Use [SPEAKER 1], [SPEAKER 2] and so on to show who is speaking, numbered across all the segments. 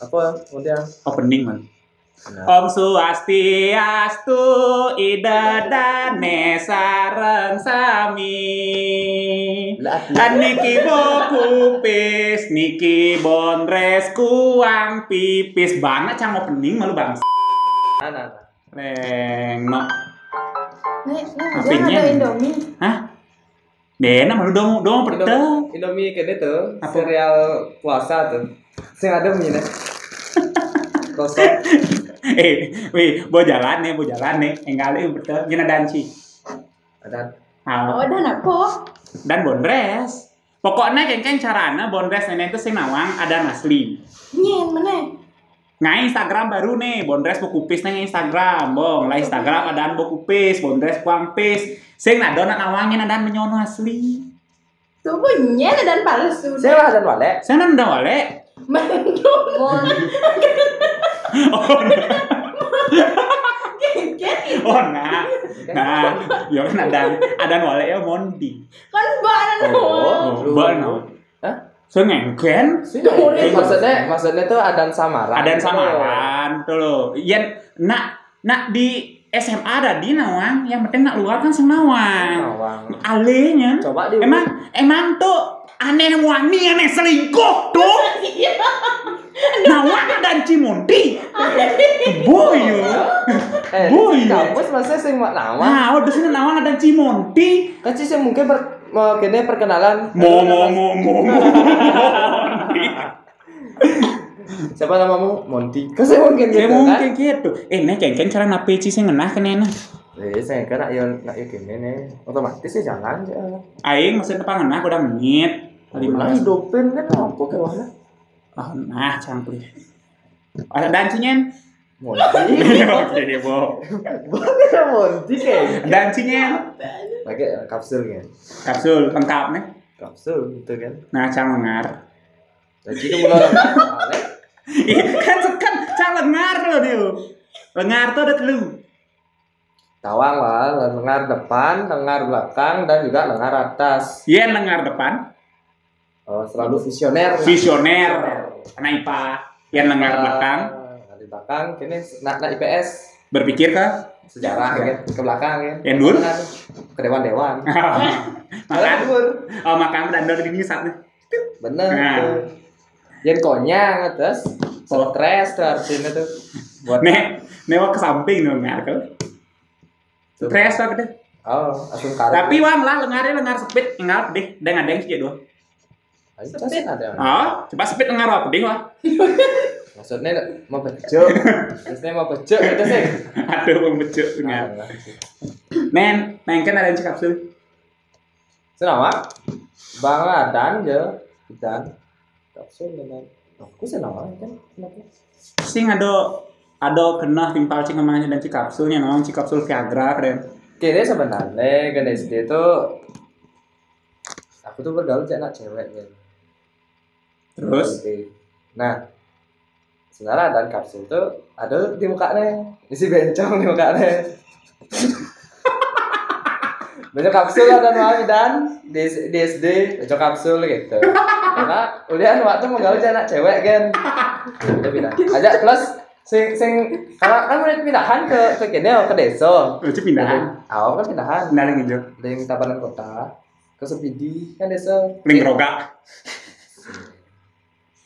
[SPEAKER 1] Apa? Udah.
[SPEAKER 2] opening man
[SPEAKER 1] Nah.
[SPEAKER 2] Om Swastiastu idadane sareng sami
[SPEAKER 1] kan
[SPEAKER 2] Niki boku pis, niki bondres kuang pipis banget cang opening malu bang.
[SPEAKER 1] Nah, nah.
[SPEAKER 2] Neng no.
[SPEAKER 3] Nih, nih,
[SPEAKER 2] Apanya?
[SPEAKER 3] jangan ada Indomie.
[SPEAKER 2] Hah? Dena malu dong dong pedang.
[SPEAKER 1] Indomie, Indomie kayaknya tuh
[SPEAKER 2] Apa?
[SPEAKER 1] serial puasa tuh. Sing ada mie nih. Kosong.
[SPEAKER 2] Eh, wih, bo jalan nih, bo jalan nih. Engkali betul, jina danci.
[SPEAKER 1] Ada.
[SPEAKER 2] Ah,
[SPEAKER 3] Oh, dan apa?
[SPEAKER 2] dan bondres. Pokoknya kengkeng carana bondres nenek itu sing nawang ada nasli.
[SPEAKER 3] Nyen mana?
[SPEAKER 2] Ngai Instagram baru nih, Bondres Bokupis nang Instagram, Bong. Lah Instagram adaan Bokupis, Bondres Kuampis. Sing nado nak nawangin adaan menyono asli.
[SPEAKER 3] Tuh bu nyen dan palsu.
[SPEAKER 1] Saya lah dan wale.
[SPEAKER 2] Saya nang udah wale.
[SPEAKER 3] Mendung.
[SPEAKER 2] Oh, nah.
[SPEAKER 3] Kan
[SPEAKER 2] oh nah. Nah, yo kan adaan adaan wale ya Mondi.
[SPEAKER 3] Kan mbak anak
[SPEAKER 1] Oh.
[SPEAKER 2] Oh, bano.
[SPEAKER 1] Hah?
[SPEAKER 2] So ngengken
[SPEAKER 1] Sih,
[SPEAKER 3] Murid.
[SPEAKER 1] maksudnya maksudnya tuh adan samaran.
[SPEAKER 2] adaan samaran kan? tuh lo. Iya, nak nak di SMA ada di nawang, yang penting nak luar kan
[SPEAKER 1] Oh.
[SPEAKER 2] sing nawang.
[SPEAKER 1] Awang.
[SPEAKER 2] Alenya.
[SPEAKER 1] Coba di
[SPEAKER 2] Emang emang tuh aneh wani aneh selingkuh tuh. Nawang dan Cimundi. Boyo.
[SPEAKER 1] Eh,
[SPEAKER 2] Boy.
[SPEAKER 1] di kampus maksudnya sing mau nawang.
[SPEAKER 2] Nah, udah sini Nawang dan Cimundi.
[SPEAKER 1] Kan sih sing mungkin ber mau kene perkenalan.
[SPEAKER 2] Mo mo mo mo. mo.
[SPEAKER 1] Siapa namamu? Monty. Kan sih mungkin gitu
[SPEAKER 2] Ya
[SPEAKER 1] kan.
[SPEAKER 2] mungkin gitu. Eh, nih kengkeng cara nape sih sih ngenah kena nah.
[SPEAKER 1] Eh, saya kira ya nak ya gini nih. Otomatis sih jalan aja.
[SPEAKER 2] Aing mesin depan ngenah udah menit.
[SPEAKER 1] Lima
[SPEAKER 2] Lima belas.
[SPEAKER 1] hidupin kan apa ke mana?
[SPEAKER 2] Oh, nah, campur. Ada dancinya.
[SPEAKER 1] Monty.
[SPEAKER 2] Oke, deh, Bo.
[SPEAKER 1] Banget ya Monty kayak.
[SPEAKER 2] Dancinya.
[SPEAKER 1] Pakai kapsul kan.
[SPEAKER 2] Kapsul lengkap nih.
[SPEAKER 1] Kapsul gitu kan.
[SPEAKER 2] Nah, cangengar.
[SPEAKER 1] Jadi itu mulai
[SPEAKER 2] Iya, kan kan cah lengar lo dia. Lengar tuh ada telu.
[SPEAKER 1] Tawang lah, lengar depan, lengar belakang, dan juga lengar atas.
[SPEAKER 2] Iya lengar depan,
[SPEAKER 1] Oh, selalu visioner. Nah,
[SPEAKER 2] visioner, anak IPA. Iya
[SPEAKER 1] Ah.
[SPEAKER 2] lengar belakang,
[SPEAKER 1] Lengar di belakang, ini nak nak IPS
[SPEAKER 2] berpikir ke
[SPEAKER 1] sejarah kan ke belakang kan.
[SPEAKER 2] yang dur.
[SPEAKER 1] Lengar ke dewan dewan.
[SPEAKER 2] makan,
[SPEAKER 1] Lengar.
[SPEAKER 2] oh makan dan dari ini satu.
[SPEAKER 1] Bener.
[SPEAKER 2] Nah.
[SPEAKER 1] tuh. Yang konyang terus stres tuh artinya tuh. Buat
[SPEAKER 2] Nek, newa ke samping dong lengar ke. Stres apa gede.
[SPEAKER 1] Oh, langsung karet.
[SPEAKER 2] Tapi wang lah lengarnya lengar sepit, lengar deh, dengan ada yang sih dua.
[SPEAKER 1] Ayo, terus ada.
[SPEAKER 2] Oh, coba sepit lengar apa deh wah.
[SPEAKER 1] Maksudnya mau bejo. Maksudnya mau bejo itu sih. Nah, gitu.
[SPEAKER 2] Aduh, pembejuk lengar. Men, men kan ada yang cekap sih.
[SPEAKER 1] Senama Bang Adan ya dan kapsul dengan aku senama kan kenapa?
[SPEAKER 2] Sing ada ada kena timpal cing kemana dan cik kapsulnya memang cik kapsul Viagra keren.
[SPEAKER 1] Kira sebenarnya kan SD itu aku tuh bergaul cek anak cewek kan.
[SPEAKER 2] Terus
[SPEAKER 1] Nah sebenarnya dan kapsul tuh ada di mukanya isi bencong di mukanya. Banyak kapsul lah dan mami dan di, di SD banyak kapsul gitu. Karena udah waktu menggaul cek anak cewek kan. Udah pindah. Ajak plus sing sing karena kan mulai pindahan ke ke kene ke desa.
[SPEAKER 2] lucu pindahan.
[SPEAKER 1] Awal kan pindahan
[SPEAKER 2] Pindah lagi jo.
[SPEAKER 1] dari Tabanan Kota ke Sepidi kan desa.
[SPEAKER 2] Ling roga.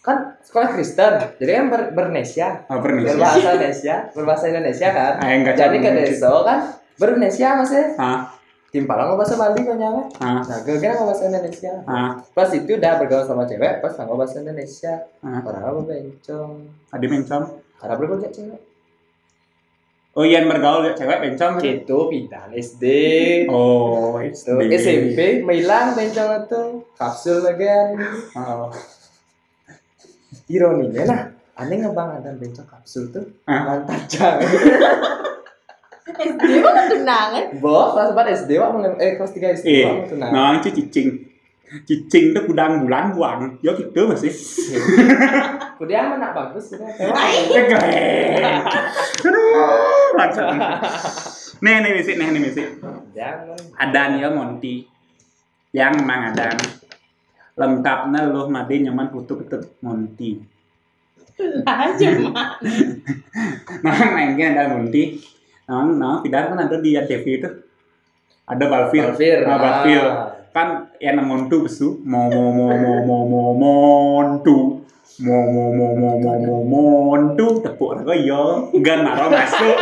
[SPEAKER 1] Kan sekolah Kristen. Jadi kan ber bernesia.
[SPEAKER 2] Apa nih?
[SPEAKER 1] Berbahasa Indonesia, berbahasa Indonesia kan.
[SPEAKER 2] Ah, yang nggak
[SPEAKER 1] Jadi
[SPEAKER 2] cocok.
[SPEAKER 1] ke desa kan bernesia maksudnya.
[SPEAKER 2] Ah,
[SPEAKER 1] Timpalan nggak bahasa Bali kan nyawa.
[SPEAKER 2] ah,
[SPEAKER 1] Nah, gue kira nggak bahasa Indonesia.
[SPEAKER 2] ah,
[SPEAKER 1] Pas itu udah bergaul sama cewek, pas nggak bahasa Indonesia.
[SPEAKER 2] ah.
[SPEAKER 1] Orang apa bencong?
[SPEAKER 2] Ada bencong.
[SPEAKER 1] Karena bergaul sama cewek.
[SPEAKER 2] Oh iya bergaul ya cewek bencong.
[SPEAKER 1] Gitu pindah Gitu. SD.
[SPEAKER 2] Oh,
[SPEAKER 1] Tuh,
[SPEAKER 2] SD.
[SPEAKER 1] SMP hilang bencong itu kapsul lagi.
[SPEAKER 2] Oh.
[SPEAKER 1] ironinya nah aneh ngebang ada bencong kapsul tuh
[SPEAKER 2] Hah?
[SPEAKER 1] ngan tajam
[SPEAKER 3] SD banget tunangan.
[SPEAKER 1] bo kelas 4 SD wak mulai eh kelas 3 SD
[SPEAKER 2] Eh,
[SPEAKER 1] wak mau tunangan
[SPEAKER 2] nah itu cicing. Cicing tuh gudang bulan buang. Yo gitu masih.
[SPEAKER 1] kudu yang menak bagus ya, sudah
[SPEAKER 2] Eh, keren. Aduh, lancar. Nih, nih bisik, nih, nih bisik.
[SPEAKER 1] jangan
[SPEAKER 2] Adan ya Monty yang mang Adan lengkapnya loh made nyaman putu putu Monty Hmm.
[SPEAKER 3] Nah, cuma.
[SPEAKER 2] nah nengnya ada nanti nah nah pindah kan ada di TV itu ada Balfil
[SPEAKER 1] Balfir. ah.
[SPEAKER 2] nah Balfil kan ya nengon tuh besu mau mau mau mau mau mau montu mau mau mau mau mau mau montu tepuk lagu yo gan naro masuk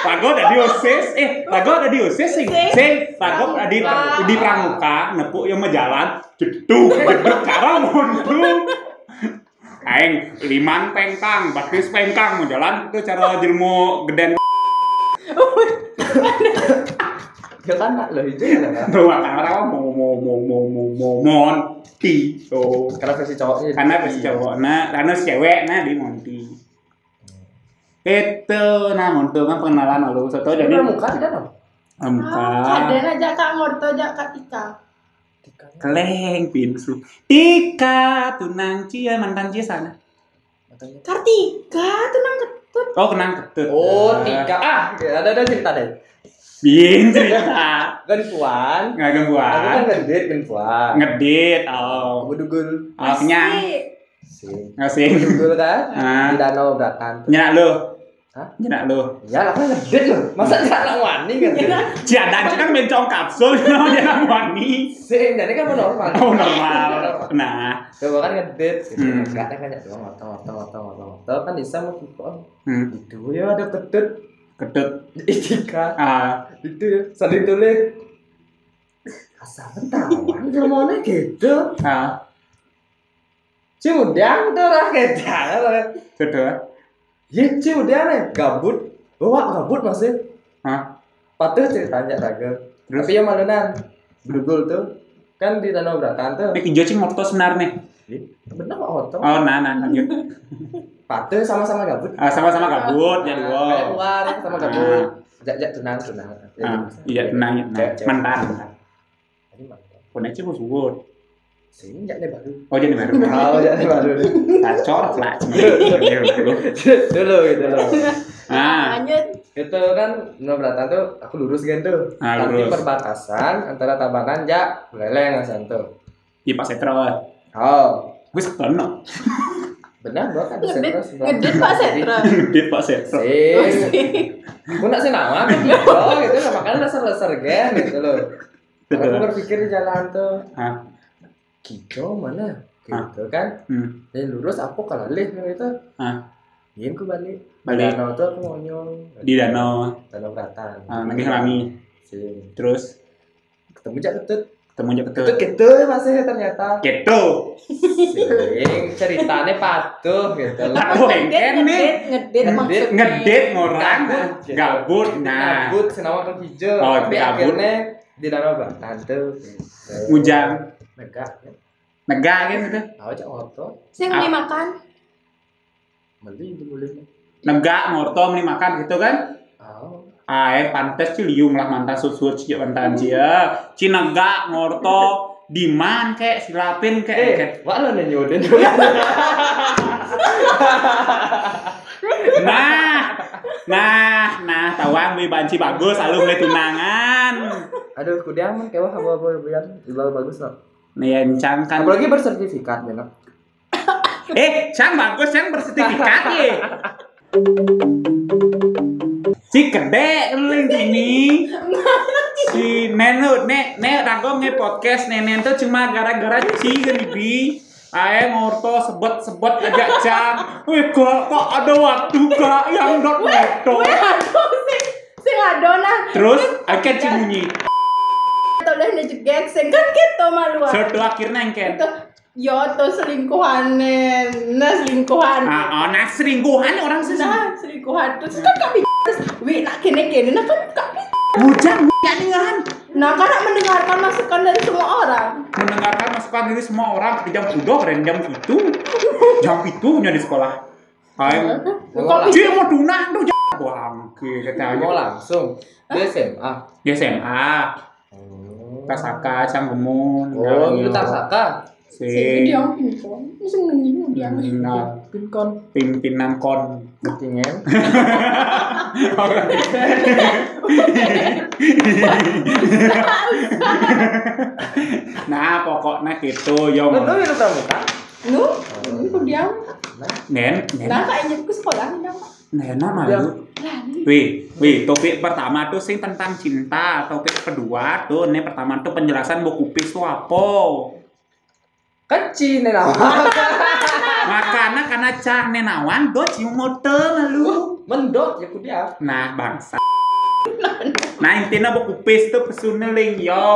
[SPEAKER 2] lagu ada di osis eh lagu ada di osis sing sing lagu ada di di pramuka nepuk yang jalan jeduk jeduk karo montu Aing liman pengkang, batis pengkang mau jalan itu cara jelmo geden
[SPEAKER 1] Ya kan nak loh itu ya kan.
[SPEAKER 2] tuh akan orang mau mau mau mau mau mau monti tuh
[SPEAKER 1] Karena versi cowoknya.
[SPEAKER 2] karena pas cowok nah karena si cewek nah di monti itu nah monti kan pengenalan lalu satu
[SPEAKER 1] Ini
[SPEAKER 2] jadi
[SPEAKER 1] pramuka tidak dong.
[SPEAKER 2] empat
[SPEAKER 3] Kaden aja Kak Morto, aja Kak Ika.
[SPEAKER 2] keleng pinsu tika tunang cia mantan cia sana
[SPEAKER 3] Kartika, tenang ketut.
[SPEAKER 2] oh kenang ketut
[SPEAKER 1] Oh, tiga. Ah, ada ada cerita deh.
[SPEAKER 2] bin cerita
[SPEAKER 1] Kan puan.
[SPEAKER 2] nggak
[SPEAKER 1] Aku
[SPEAKER 2] gangguan
[SPEAKER 1] kan ngedit kan puan.
[SPEAKER 2] ngedit oh
[SPEAKER 1] Aku dugul.
[SPEAKER 2] Ah, Ờ, akhirnya
[SPEAKER 3] Asik.
[SPEAKER 1] Sing.
[SPEAKER 2] nggak sih
[SPEAKER 1] Dugul kan.
[SPEAKER 2] Ah.
[SPEAKER 1] Di danau beratan.
[SPEAKER 2] nyenak lo
[SPEAKER 1] Hah?
[SPEAKER 2] nyenak lo
[SPEAKER 1] Ya lah kan ngedit loh.
[SPEAKER 2] Hmm.
[SPEAKER 1] Masa jalan wani ngedit.
[SPEAKER 2] ciadan itu kan bencong kapsul kenapa dia nggak wani
[SPEAKER 1] Sing, jadi kan normal.
[SPEAKER 2] oh normal nah
[SPEAKER 1] Coba kan ngedit.
[SPEAKER 2] Hmm.
[SPEAKER 1] Katanya kan ya doang ngotong ngotong ngotong ngotong ngotong. Kan bisa mau kipon.
[SPEAKER 2] hmm.
[SPEAKER 1] Itu ya ada ketut.
[SPEAKER 2] kedut
[SPEAKER 1] Itika.
[SPEAKER 2] ah
[SPEAKER 1] Itu ya. Sering tulis. Asal ketahuan. Ngomongnya gitu.
[SPEAKER 2] ah
[SPEAKER 1] Cudang tuh lah kecang.
[SPEAKER 2] kedut
[SPEAKER 1] kan? Ya cudang nih gabut. Wah gabut masih.
[SPEAKER 2] Hah?
[SPEAKER 1] Patuh ceritanya raga.
[SPEAKER 2] Terus?
[SPEAKER 1] Tapi yang malunan. Dugul tuh kan di Danau Bratan tuh.
[SPEAKER 2] ini kijau cing morto sebenarnya
[SPEAKER 1] Bener kok foto.
[SPEAKER 2] oh nah nah lanjut
[SPEAKER 1] Patuh sama-sama gabut.
[SPEAKER 2] Ah, sama-sama kabut jadi
[SPEAKER 1] Kayak
[SPEAKER 2] wow
[SPEAKER 1] luar sama gabut. Jak-jak tunang tunang.
[SPEAKER 2] Ah, iya tenang ya tenang.
[SPEAKER 1] Cewek-cewek.
[SPEAKER 2] mantan mantan
[SPEAKER 1] Ini mantap.
[SPEAKER 2] punya cing suwur
[SPEAKER 1] Sini jak nih baru.
[SPEAKER 2] oh jadi baru
[SPEAKER 1] Kalau jak nih baru.
[SPEAKER 2] kacor lah Iya,
[SPEAKER 1] Dulu gitu loh.
[SPEAKER 2] ah
[SPEAKER 3] Nah, Lanjut.
[SPEAKER 1] Itu kan Danau Bratan tuh aku lurus gitu.
[SPEAKER 2] Ah,
[SPEAKER 1] Tapi
[SPEAKER 2] lurus.
[SPEAKER 1] perbatasan antara Tabanan jak Leleng Santo.
[SPEAKER 2] di pas Iya, setro
[SPEAKER 1] Oh,
[SPEAKER 2] gue setono
[SPEAKER 1] benar gua kan
[SPEAKER 3] Ngedit,
[SPEAKER 1] Setro sebelah.
[SPEAKER 3] ngedit Pak Setra.
[SPEAKER 2] di pas setro
[SPEAKER 1] Sing. Aku nak sih nama aku gitu, gitu loh. Makanya dasar-dasar gen gitu loh. Kalau aku berpikir di jalan tuh,
[SPEAKER 2] ah
[SPEAKER 1] gitu mana? Gitu kan?
[SPEAKER 2] hmm.
[SPEAKER 1] Ini lurus aku kalau lih gitu.
[SPEAKER 2] Ah.
[SPEAKER 1] Iya, aku balik.
[SPEAKER 2] balik
[SPEAKER 1] Danau tuh aku ngonyong.
[SPEAKER 2] di danau
[SPEAKER 1] Danau Bratan.
[SPEAKER 2] ah, lagi ngelami
[SPEAKER 1] Sing.
[SPEAKER 2] terus
[SPEAKER 1] Ketemu jak ketut.
[SPEAKER 2] ketemu aja ketut
[SPEAKER 1] Ketut gitu masih ternyata.
[SPEAKER 2] gitu
[SPEAKER 1] Sing ceritanya patuh gitu loh.
[SPEAKER 2] Patuh. Aku
[SPEAKER 3] Ngedit,
[SPEAKER 2] pengen nih.
[SPEAKER 3] ngedit, ngedit maksudnya.
[SPEAKER 2] ngedit ngorang
[SPEAKER 1] Gabut.
[SPEAKER 2] gabut nah
[SPEAKER 1] Gabut, senama kan hijau.
[SPEAKER 2] Oh,
[SPEAKER 1] Tapi
[SPEAKER 2] gabut.
[SPEAKER 1] akhirnya di danau Bataan tuh. gitu.
[SPEAKER 2] Ujang.
[SPEAKER 1] Negak. ya.
[SPEAKER 2] negah kan gitu
[SPEAKER 1] Tahu cak oto.
[SPEAKER 3] Saya mau dimakan.
[SPEAKER 1] Beli itu boleh.
[SPEAKER 2] negah ngorto meni makan gitu kan
[SPEAKER 1] Oh.
[SPEAKER 2] ah eh pantes sih liung lah mantan susur sih mantan cia cina negah ngorto diman kek silapin kek
[SPEAKER 1] Eh,
[SPEAKER 2] kek.
[SPEAKER 1] wak lo nanyudin dulu.
[SPEAKER 2] nah nah nah tawang bi banci bagus lalu mulai tunangan
[SPEAKER 1] Aduh, aku diaman kayak wah bawa bawa bilang dibawa bagus loh.
[SPEAKER 2] Nencang kan
[SPEAKER 1] Apalagi bersertifikat ya nak.
[SPEAKER 2] Eh, Cang bagus, Cang bersertifikat ye. Si gede keling ini. Si Nenu, Nek, Nek rangkom nge podcast Nenen tuh cuma gara-gara Ci Ribi. Ae ngorto sebet-sebet aja Cang. Wih, kok kok ada waktu kak yang dot moto.
[SPEAKER 3] Weh, aduh, sing sing ah. adonan.
[SPEAKER 2] Terus akhirnya Ci bunyi.
[SPEAKER 3] Atau udah nih jegek, sing kan gitu malu. ah.
[SPEAKER 2] Sudah akhirnya engken.
[SPEAKER 3] Itu yo tuh selingkuhan nah selingkuhan.
[SPEAKER 2] Ah, ah, nah seringkuhan orang sih.
[SPEAKER 3] Nah, selingkuhan terus kan kami terus wih nak kene kene nah kan kami
[SPEAKER 2] Bujang, bujang nih kan.
[SPEAKER 3] nah karena mendengarkan masukan dari semua orang.
[SPEAKER 2] mendengarkan masukan dari semua orang ke jam udah keren jam itu jam itu nya di sekolah ayo
[SPEAKER 3] kan?
[SPEAKER 1] Mengolah.
[SPEAKER 2] dia mau tunang tuh jam bangke kata aja
[SPEAKER 1] Ya, Mau langsung. Dia SMA.
[SPEAKER 2] di SMA tasaka canggemun
[SPEAKER 1] Oh, itu tasaka.
[SPEAKER 3] Sing
[SPEAKER 2] si
[SPEAKER 3] dia pinkon, mesti ngenyim dia.
[SPEAKER 2] pimpinan
[SPEAKER 1] Pinkon.
[SPEAKER 2] pimpinan kon
[SPEAKER 1] Ketingin.
[SPEAKER 2] nah pokoknya gitu yo Nah, gitu,
[SPEAKER 1] Lo lo itu pramuka.
[SPEAKER 3] Nu, ini kuliah.
[SPEAKER 2] Nen, nen,
[SPEAKER 3] Nah, kayaknya aku sekolah nih nama.
[SPEAKER 2] nena malu.
[SPEAKER 3] Lali.
[SPEAKER 2] Wih, wih, topik pertama tuh sih tentang cinta. Topik kedua tuh, nih pertama tuh penjelasan buku kupis tuh apa?
[SPEAKER 1] Kecil nih nama.
[SPEAKER 2] Makanya karena cah nenawan do motor lu.
[SPEAKER 1] Mendot ya kuliah.
[SPEAKER 2] Nah, bangsa. Nah, intinya buku kupis tuh pesuneling yo,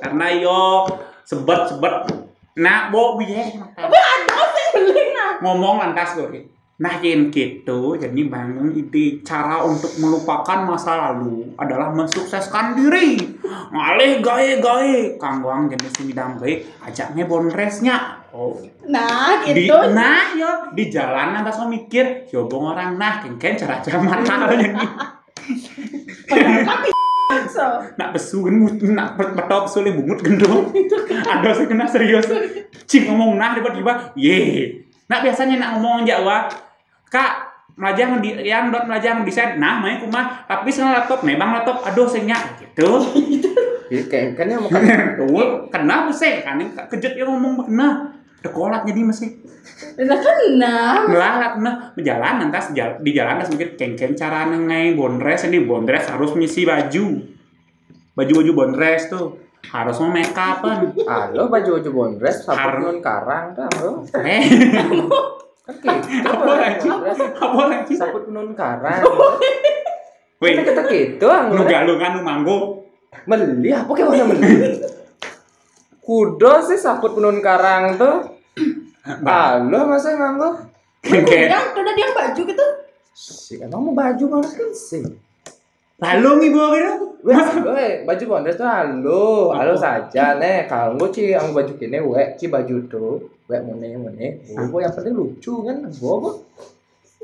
[SPEAKER 2] karena yo sebet sebet. Nah, bo biye
[SPEAKER 3] Beling nah.
[SPEAKER 2] ngomong lantas gue. Nah, yang gitu, jadi bangun ide cara untuk melupakan masa lalu adalah mensukseskan diri. Ngalih gae-gae, kangguang jenis semidam gae, ajaknya bonresnya. Oh,
[SPEAKER 3] Nah,
[SPEAKER 2] di
[SPEAKER 3] gitu.
[SPEAKER 2] nah yo di jalan nggak so mikir jobong orang nah kengken cara cara mata ini
[SPEAKER 3] Padahal kami so.
[SPEAKER 2] nak pesuin mut nak petop sulit bungut gendong kan, ada sih kena serius cing ngomong nah tiba-tiba ye nah biasanya nak ngomong jawa kak melajang di yang dot melajang desain nah main kumah tapi sekarang laptop memang laptop aduh sehnya gitu
[SPEAKER 1] Kayak kan ya makan.
[SPEAKER 2] tuh kena mesin kan yang kejet yang ngomong kena dekolat jadi mesin
[SPEAKER 3] Lah kan, kenal.
[SPEAKER 2] melarat nah berjalan nanti jal- di jalan terus mikir kengkeng cara nengai bondres ini bondres harus ngisi baju baju baju bondres tuh harus mau make upan
[SPEAKER 1] Halo baju baju bondres,
[SPEAKER 2] Har-
[SPEAKER 1] sabun non karang kan lo.
[SPEAKER 2] eh
[SPEAKER 1] Kan gitu.
[SPEAKER 2] Apa lagi?
[SPEAKER 1] bondres.
[SPEAKER 2] apa lagi
[SPEAKER 1] Sabun non karang.
[SPEAKER 2] weh
[SPEAKER 1] Kita kita gitu
[SPEAKER 2] lu
[SPEAKER 1] anggur.
[SPEAKER 2] galungan lu manggo
[SPEAKER 1] Meli apa kayak mana meli? Kudo sih sabut penun karang tuh.
[SPEAKER 2] Bah,
[SPEAKER 1] Halo masa emang lo?
[SPEAKER 2] kengkeng
[SPEAKER 3] Yang kena dia baju gitu.
[SPEAKER 1] Si emang mau baju bondres kan sih.
[SPEAKER 2] lalu nih bawa gitu
[SPEAKER 1] Weh, weh, baju bondres tuh halo, halo saja nih. Kalau gue sih ang baju kini, weh, ci baju tuh, weh mune mune.
[SPEAKER 2] Ah.
[SPEAKER 1] Gue yang penting lucu kan, gue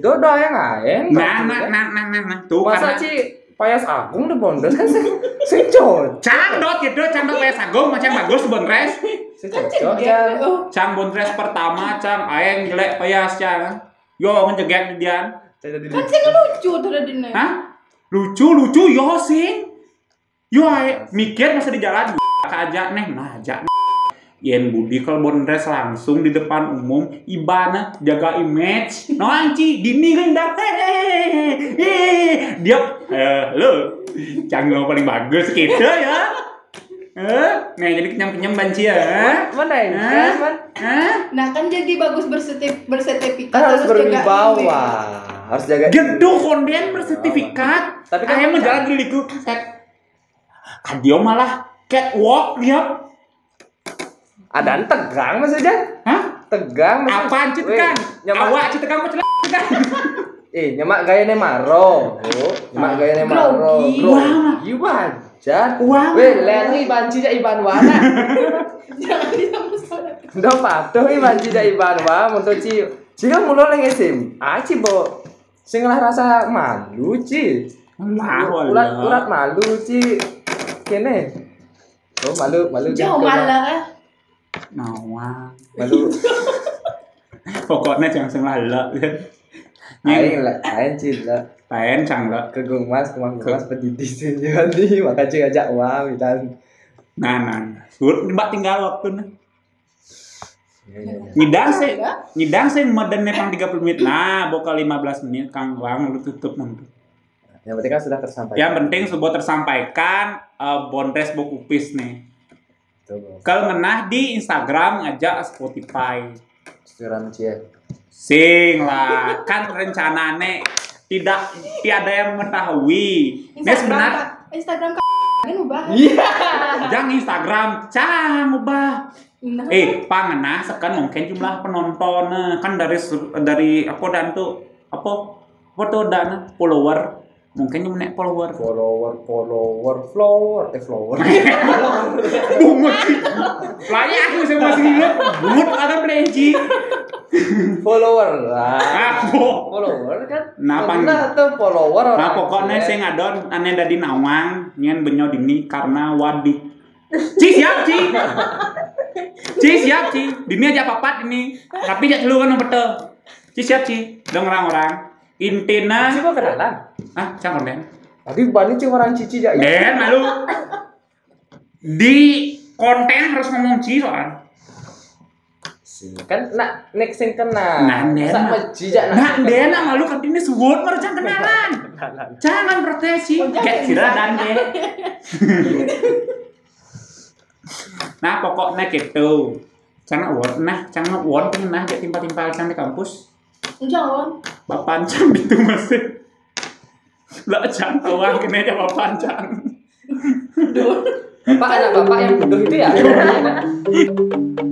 [SPEAKER 1] Dodo yang lain.
[SPEAKER 2] nah nah nah nah nah nah. tuh
[SPEAKER 1] Masa
[SPEAKER 2] karena
[SPEAKER 1] Ci Payas Agung di Bondes kan sing sing cocok.
[SPEAKER 2] candot gitu candot kayak sagung macam bagus bondres
[SPEAKER 1] Sing
[SPEAKER 3] Kan
[SPEAKER 1] cocok
[SPEAKER 3] cengeng.
[SPEAKER 1] ya.
[SPEAKER 3] Oh,
[SPEAKER 2] cang bondres pertama cang ayang jelek payas cang yo ngejegat dia
[SPEAKER 1] Jadi
[SPEAKER 3] Kan sing lucu tuh tadi nih.
[SPEAKER 2] Hah? Lucu lucu yo sing. Yo ae, mikir masa di jalan aja neh nah aja. Yen Budi kalau bondres langsung di depan umum Ibana jaga image no anci gini gendar hehehe Hehehe. dia eh, lo canggih paling bagus gitu ya eh nah jadi kenyam kenyam banci ya
[SPEAKER 1] Mana ini?
[SPEAKER 2] Hah?
[SPEAKER 1] Kan
[SPEAKER 2] eh
[SPEAKER 3] Nah, kan jadi bagus bersertif bersertifikat
[SPEAKER 1] kan harus
[SPEAKER 3] jaga
[SPEAKER 1] berwibawa.
[SPEAKER 3] image.
[SPEAKER 1] Harus jaga
[SPEAKER 2] Gendong konden bersertifikat.
[SPEAKER 1] Tapi
[SPEAKER 2] Tapi
[SPEAKER 1] kan-
[SPEAKER 2] kan ayam jalan di liku. Set. Kan dia malah catwalk dia.
[SPEAKER 1] Ada tegang maksudnya?
[SPEAKER 2] Hah?
[SPEAKER 1] Tegang maksudnya.
[SPEAKER 2] Apaan cit
[SPEAKER 1] Weh,
[SPEAKER 2] kan?
[SPEAKER 1] Nyamak,
[SPEAKER 2] Awak cit kan kecil kan.
[SPEAKER 1] eh nyamak gaya ne maro. Bu. Nyamak gaya ne maro.
[SPEAKER 3] Grogi.
[SPEAKER 1] Grogi wajar.
[SPEAKER 2] Wah.
[SPEAKER 1] Weh, leri bancinya Iban Wana.
[SPEAKER 3] Jangan disambut salah.
[SPEAKER 1] Udah patuh ini bancinya Iban Wana untuk Ci. Ci kan mulai nang SMA Ci, Bo. Sing lah rasa malu, Ci.
[SPEAKER 2] Lah,
[SPEAKER 1] urat urat
[SPEAKER 2] urat.
[SPEAKER 1] malu ci kene oh malu malu
[SPEAKER 3] Jauh
[SPEAKER 1] jengkel,
[SPEAKER 3] malah kan.
[SPEAKER 2] Nawa.
[SPEAKER 1] malu
[SPEAKER 2] Pokoknya jangan sing lala.
[SPEAKER 1] aing
[SPEAKER 2] Nih,
[SPEAKER 1] lah aing ci lah
[SPEAKER 2] lain cangla.
[SPEAKER 1] ke gumas ke mang gumas pedidi sih jadi maka ci ajak wow dan
[SPEAKER 2] Nah, nah. Urut mbak tinggal waktu nih.
[SPEAKER 1] Iya,
[SPEAKER 2] Nyidang sih, nyidang sih medennya pang 30 menit. Nah, boka 15 menit Kang Wang lu tutup mundur.
[SPEAKER 1] yang penting kan sudah tersampaikan
[SPEAKER 2] Yang penting sebuah tersampaikan eh, Bondres Bokupis nih.
[SPEAKER 1] Tuh, Bo.
[SPEAKER 2] Kalau ngenah di Instagram ngajak Spotify.
[SPEAKER 1] suram ci ya
[SPEAKER 2] Sing lah, kan rencanane tidak tiada yang mengetahui. Ini sebenarnya
[SPEAKER 3] Instagram kan kan ubah.
[SPEAKER 1] iya
[SPEAKER 2] jangan Instagram, cang ubah.
[SPEAKER 3] Nah,
[SPEAKER 2] Eh, pangenah sekan mungkin jumlah penonton kan dari se- dari apa dan tuh apa apa tuh dan eh, follower mungkin cuma nek follower.
[SPEAKER 1] follower follower flower eh flower
[SPEAKER 2] Bungut. Layak aku sama sih. Bungut ada pleji.
[SPEAKER 1] follower lah
[SPEAKER 2] Apa?
[SPEAKER 1] follower kan
[SPEAKER 2] Nah, pan-
[SPEAKER 1] Pernah tuh follower orang
[SPEAKER 2] Nah pokoknya
[SPEAKER 1] Ci,
[SPEAKER 2] saya ngadon aneh dari nawang nyen benyo dini karena wadik. Ci siap ci. Ci siap ci. Dini aja papat ini. Tapi jak telu kan nomor teu. Ci siap ci. Dong orang-orang.
[SPEAKER 1] ya. ci
[SPEAKER 2] Intina.
[SPEAKER 1] mau kenalan
[SPEAKER 2] Ah, cakon den.
[SPEAKER 1] tapi bani ci orang cici ya
[SPEAKER 2] Den malu. Di konten harus ngomong ci soal.
[SPEAKER 1] sih kan nak next sing kena
[SPEAKER 2] Nah, nen.
[SPEAKER 1] sama jijak
[SPEAKER 2] Nah, dena malu kan ini sebut mereka kenalan. Jangan proteksi.
[SPEAKER 3] Oh, jangan.
[SPEAKER 2] Kayak siradan deh. nah, pokoknya gitu. Cana won, nah, cana won pengen nah, kayak timpal-timpal cana di kampus.
[SPEAKER 3] Jangan.
[SPEAKER 2] Bapak ancang itu masih. Lah, cang, awang kena ya, aja bapak ancang. Nah.
[SPEAKER 1] bapak anak bapak yang butuh itu ya